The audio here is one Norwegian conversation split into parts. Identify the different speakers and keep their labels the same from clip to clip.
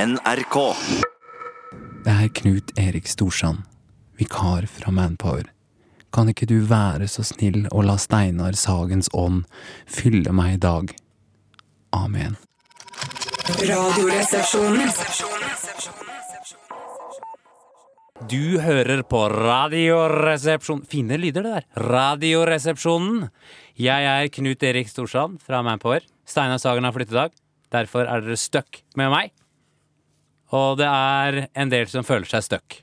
Speaker 1: NRK.
Speaker 2: Det er Knut Erik Storsand, vikar fra Manpower. Kan ikke du være så snill å la Steinar Sagens ånd fylle meg i dag? Amen.
Speaker 3: Radioresepsjonen.
Speaker 4: Du hører på Radioresepsjonen. Fine lyder, det der. Radioresepsjonen. Jeg er Knut Erik Storsand fra Manpower. Steinar Sagen har flyttedag. Derfor er dere stuck med meg. Og det er en del som føler seg stuck.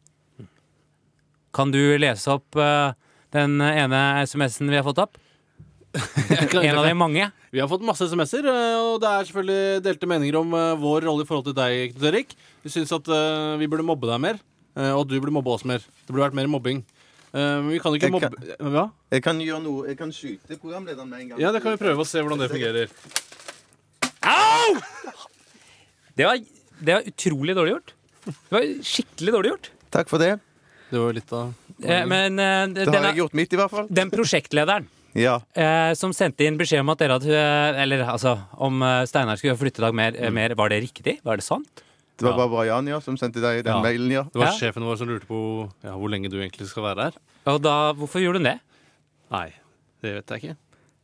Speaker 4: Kan du lese opp eh, den ene SMS-en vi har fått opp? En av de mange.
Speaker 5: Vi har fått masse SMS-er, eh, og det er selvfølgelig delte meninger om eh, vår rolle i forhold til deg, Knut Erik. Vi syns at eh, vi burde mobbe deg mer, eh, og at du burde mobbe oss mer. Det burde vært mer mobbing. Eh, Men vi kan ikke
Speaker 6: Jeg
Speaker 5: mobbe
Speaker 6: kan-
Speaker 5: Hva?
Speaker 6: Jeg kan gjøre noe, jeg kan skyte programlederen med en gang.
Speaker 5: Ja, det kan vi prøve å se hvordan det fungerer.
Speaker 4: Det var, det var utrolig dårlig gjort. Det var skikkelig dårlig gjort.
Speaker 6: Takk for det.
Speaker 5: Det var jo litt av
Speaker 4: Eh, Men eh,
Speaker 6: Da har
Speaker 4: denne,
Speaker 6: jeg gjort mitt, i hvert fall.
Speaker 4: den prosjektlederen
Speaker 6: Ja.
Speaker 4: eh, som sendte inn beskjed om at dere hadde Eller altså, om eh, Steinar skulle gjøre flyttedag mer, eh, mer. Var det riktig? Var det sant?
Speaker 6: Det var bare Jan ja, som sendte deg den
Speaker 4: Ja.
Speaker 6: mailen, ja.
Speaker 5: Det var
Speaker 4: Ja.
Speaker 5: sjefen vår som lurte på ja, hvor lenge du egentlig skal være her.
Speaker 4: Og da, hvorfor gjorde hun det?
Speaker 5: Nei, det vet jeg ikke.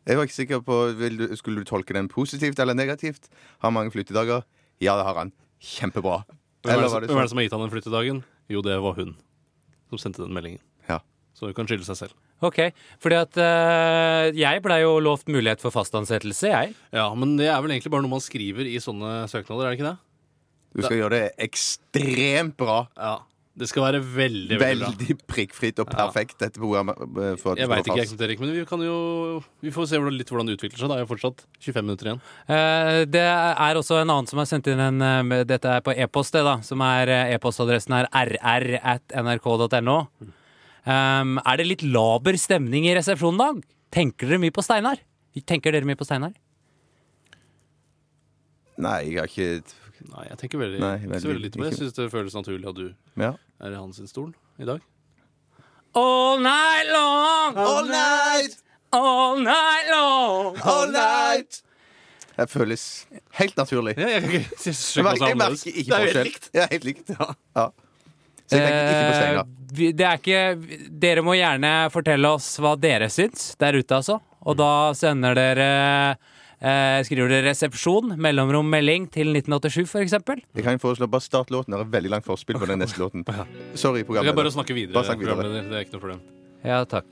Speaker 6: Jeg var ikke sikker på vil du, Skulle du tolke den positivt eller negativt? Har mange flyttedager? Ja, det har han. Kjempebra.
Speaker 5: Hvem er,
Speaker 6: Eller
Speaker 5: det, som-
Speaker 6: var det
Speaker 5: hvem er det
Speaker 6: sånn?
Speaker 5: som har gitt han den flyttedagen? Jo, det var hun som sendte den meldingen.
Speaker 6: Ja.
Speaker 5: Så hun kan skylde seg selv.
Speaker 4: Ok, fordi at eh, jeg blei jo lovt mulighet for fast ansettelse, jeg.
Speaker 5: Ja, Men det er vel egentlig bare noe man skriver i sånne søknader, er det ikke det?
Speaker 6: Du skal gjøre det ekstremt bra.
Speaker 5: Ja. Det skal være veldig, veldig, bra.
Speaker 6: Veldig prikkfritt og
Speaker 5: Ja.
Speaker 6: perfekt, dette programmet. eh, For at
Speaker 5: Jeg
Speaker 6: du
Speaker 5: veit
Speaker 6: skal
Speaker 5: ikke,
Speaker 6: være
Speaker 5: jeg,
Speaker 6: fast.
Speaker 5: Knut Erik, men vi kan jo Vi får se hvordan, litt hvordan det utvikler seg. Det er jo fortsatt 25 minutter igjen.
Speaker 4: Eh, det er også en annen som har sendt inn en eh, med- Dette er på e-post, det, da. Som er eh, e-postadressen er rr at nrk.no. Um, er det litt laber stemning i resepsjonen i dag? Tenker dere mye på Steinar? Tenker dere mye på Steinar?
Speaker 6: Nei, jeg har ikke
Speaker 5: Nei, jeg tenker veldig,
Speaker 6: Nei,
Speaker 5: ikke så
Speaker 6: veldig
Speaker 5: veldig lite på det. Jeg
Speaker 6: ikke.
Speaker 5: syns det føles naturlig at du
Speaker 6: Ja.
Speaker 5: er i hans stol i dag.
Speaker 4: All night long,
Speaker 6: All night!
Speaker 4: all night long.
Speaker 6: All night! Det føles helt naturlig.
Speaker 5: Ja, jeg, jeg, jeg, synes
Speaker 6: Jeg
Speaker 5: ikke
Speaker 6: merker, jeg
Speaker 5: noe annerledes.
Speaker 6: merker ikke
Speaker 5: Det er jo helt
Speaker 6: forskjell.
Speaker 5: likt.
Speaker 6: Ja, helt likt. Ja. Så jeg tenker ikke på senga.
Speaker 4: Eh, vi- Det er ikke Dere må gjerne fortelle oss hva dere syns der ute, altså. Og da sender dere eh, Skriver dere 'resepsjon', mellomrom, melding til 1987, for eksempel.
Speaker 6: Jeg kan jo foreslå bare start låten. Det er veldig langt forspill på den neste låten. Sorry,
Speaker 5: Du kan bare
Speaker 6: programleder.
Speaker 5: snakke videre.
Speaker 6: Bare snakk videre.
Speaker 5: programleder. Det er ikke noe problem.
Speaker 4: Ja, takk.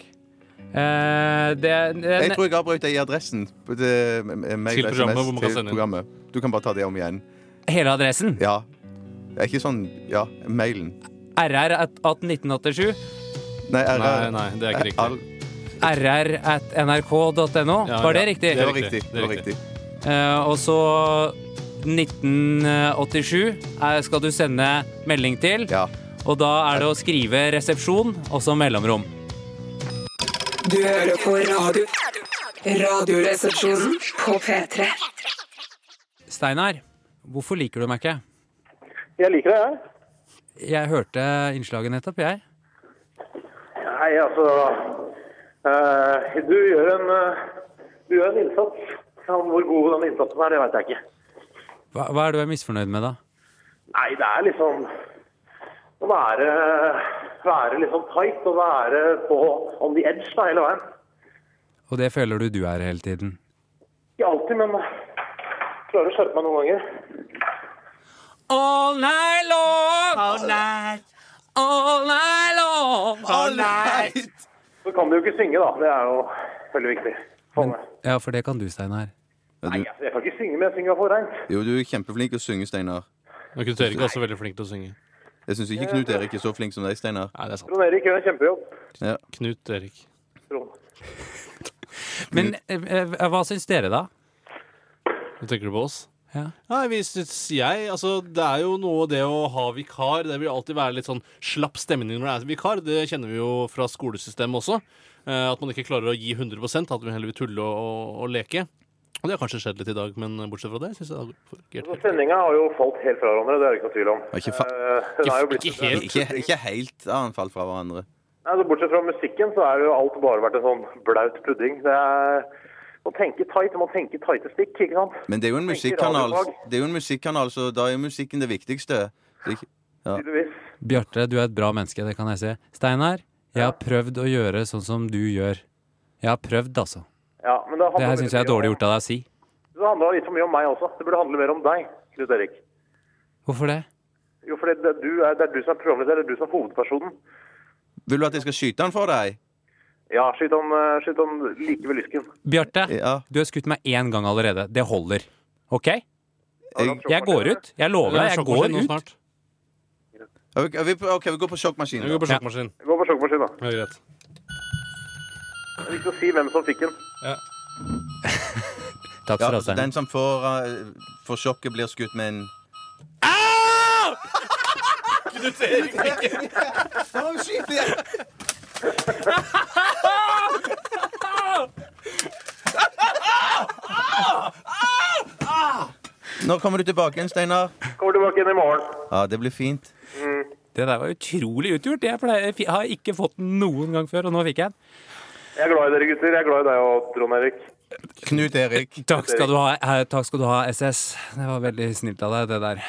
Speaker 4: Eh, det,
Speaker 6: Jeg
Speaker 4: det,
Speaker 6: tror jeg avbrøt deg i adressen. på det- mail,
Speaker 5: Til programmet,
Speaker 6: SMS,
Speaker 5: hvor man kan
Speaker 6: til
Speaker 5: sende inn.
Speaker 6: programmet. Du kan bare ta det om igjen.
Speaker 4: hele adressen.
Speaker 6: Ja. Det er ikke sånn Ja, mailen.
Speaker 4: RR at, at 1987.
Speaker 6: Nei, er,
Speaker 5: Nei, nei, det er ikke riktig.
Speaker 6: All,
Speaker 4: RR at nrk.no.
Speaker 5: Ja,
Speaker 4: Var
Speaker 5: ja.
Speaker 4: det riktig?
Speaker 6: det var
Speaker 5: Det er
Speaker 6: riktig.
Speaker 5: riktig,
Speaker 6: Det var
Speaker 5: det er
Speaker 6: riktig.
Speaker 4: Eh, og så 1987 er- eh, skal du sende melding til.
Speaker 6: Ja.
Speaker 4: Og da er det å skrive 'resepsjon' og så mellomrom.
Speaker 3: Du hører på radio. Radioresepsjonen på P3.
Speaker 4: Steinar, hvorfor liker du meg ikke?
Speaker 7: Jeg liker det, jeg.
Speaker 4: Jeg hørte innslaget nettopp, jeg.
Speaker 7: Nei, altså eh, Du gjør en eh, Du gjør en innsats. Ja, hvor god den innsatsen er, det veit jeg ikke.
Speaker 4: Hva, hva er det du er misfornøyd med, da?
Speaker 7: Nei, det er liksom å være Være liksom tight og være på on the edge da, hele veien.
Speaker 4: Og det føler du du er hele tiden.
Speaker 7: Ikke alltid, men klarer å skjerpe meg noen ganger.
Speaker 4: All night long! All night! All night long!
Speaker 7: Så kan du jo ikke synge, da. Det er jo veldig viktig. Få med.
Speaker 4: Ja, for det kan du, Steinar.
Speaker 6: Ja,
Speaker 7: Nei,
Speaker 6: du,
Speaker 7: altså, jeg kan ikke synge, men jeg synger for reint.
Speaker 6: jo, du er kjempeflink til å synge, Steinar.
Speaker 5: Men Knut Erik er også veldig flink til å synge.
Speaker 6: Jeg syns ikke Knut Erik er så flink som deg, Steinar.
Speaker 5: Nei, det er sant.
Speaker 7: Trond Erik gjør en kjempejobb.
Speaker 5: Knut Erik.
Speaker 7: Trond.
Speaker 4: Men eh, eh, hva syns dere, da?
Speaker 5: Nå tenker du på oss?
Speaker 4: Ja.
Speaker 5: Nei, vi syns jeg Altså, det er jo noe det å ha vikar. Det vil alltid være litt sånn slapp stemning når det er vikar. Det kjenner vi jo fra skolesystemet også. Eh, at man ikke klarer å gi 100 at vi heller vil tulle og, og, og leke. Og det har kanskje skjedd litt i dag, men bortsett fra det syns jeg det har fungert.
Speaker 7: Så Sendinga har jo falt helt fra hverandre, det er det ikke noe tvil om.
Speaker 6: Ja, ikke fa-
Speaker 7: Eh, den er jo blitt
Speaker 5: Ikke helt.
Speaker 6: Ikke, ikke helt anfall fra hverandre.
Speaker 7: Nei, altså, Bortsett fra musikken så er jo alt bare vært en sånn blaut pudding. Det er, å tenke tight, du må tenke tighte stikk, ikke sant?
Speaker 6: Men det er jo en
Speaker 7: Tenker
Speaker 6: musikkanal,
Speaker 7: radiofag.
Speaker 6: det er jo en musikkanal så da er musikken det viktigste. Det er ikke- ja.
Speaker 7: Tydeligvis.
Speaker 4: Bjarte, du er et bra menneske, det kan jeg se. Steinar, jeg har prøvd å gjøre sånn som du gjør. Jeg har prøvd, altså.
Speaker 7: Ja, men det, handler
Speaker 4: Det her
Speaker 7: veldig
Speaker 4: syns jeg er
Speaker 7: mye om-
Speaker 4: dårlig gjort av deg å si.
Speaker 7: Det handler litt for mye om meg også. Det burde handle mer om deg, Knut Erik.
Speaker 4: Hvorfor det?
Speaker 7: Jo, for det, det, er du er, det er du som er programleder, det er du som er hovedpersonen.
Speaker 6: Vil du at jeg skal skyte den for deg?
Speaker 7: Ja, skyt han, eh, skyt han like ved lysken.
Speaker 4: Bjarte,
Speaker 6: Ja.
Speaker 4: du har skutt meg én gang allerede. Det holder. OK?
Speaker 6: Jeg,
Speaker 4: Eh, Jeg går ut. Jeg lover deg, jeg går ut.
Speaker 5: Snart.
Speaker 6: Ja, vi- vi, OK, vi går på sjokkmaskinen.
Speaker 5: Jeg går
Speaker 6: da.
Speaker 5: på sjokkmaskinen.
Speaker 7: Gå på sjokkmaskinen, da.
Speaker 5: Det er greit.
Speaker 7: Det er viktig å si hvem som fikk den.
Speaker 4: Takk for
Speaker 6: Ja, altså, den
Speaker 4: avstemningen.
Speaker 6: som får, eh, får sjokket, blir skutt med en Au! Knut Erik Viken. Nå kommer du tilbake igjen, Steinar.
Speaker 7: Kommer tilbake igjen i morgen.
Speaker 6: Ja, det blir fint.
Speaker 4: Det der var utrolig utgjort. Jeg pleier, jeg har ikke fått den noen gang før, og nå fikk jeg den.
Speaker 7: Jeg er glad i dere, gutter. Jeg er glad i deg og Trond Erik.
Speaker 6: Knut Erik.
Speaker 4: Takk skal du ha, eh, takk skal du ha SS. Det var veldig snilt av deg, det der.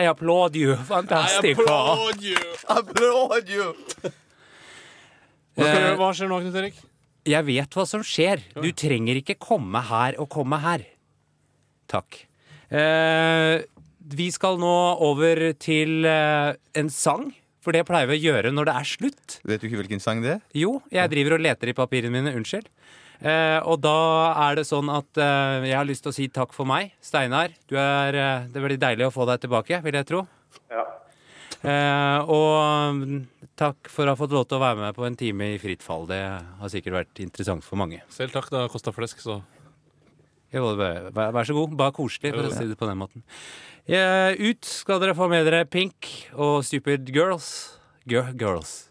Speaker 4: I applaud you. Fantastisk.
Speaker 6: Applaud you!
Speaker 5: Hva, skal, hva skjer nå, Knut Erik?
Speaker 4: Jeg vet hva som skjer. Du trenger ikke komme her og komme her. Takk. Eh, vi skal nå over til eh, en sang, for det pleier vi å gjøre når det er slutt.
Speaker 6: Vet du ikke hvilken sang det er?
Speaker 4: Jo, jeg driver og leter i papirene mine. Unnskyld. Eh, og da er det sånn at eh, jeg har lyst til å si takk for meg. Steinar, du er, eh, det blir deilig å få deg tilbake, vil jeg tro.
Speaker 7: Ja.
Speaker 4: Eh, og mm, takk for å ha fått lov til å være med på en time i fritt fall. Det har sikkert vært interessant for mange.
Speaker 5: Selv takk, det har kosta flesk, så
Speaker 4: Jo, vær, vær- vær så god. Bare koselig, for å si det på den måten. Eh, ut skal dere få med dere Pink og Stupid Girls. Gir- girls.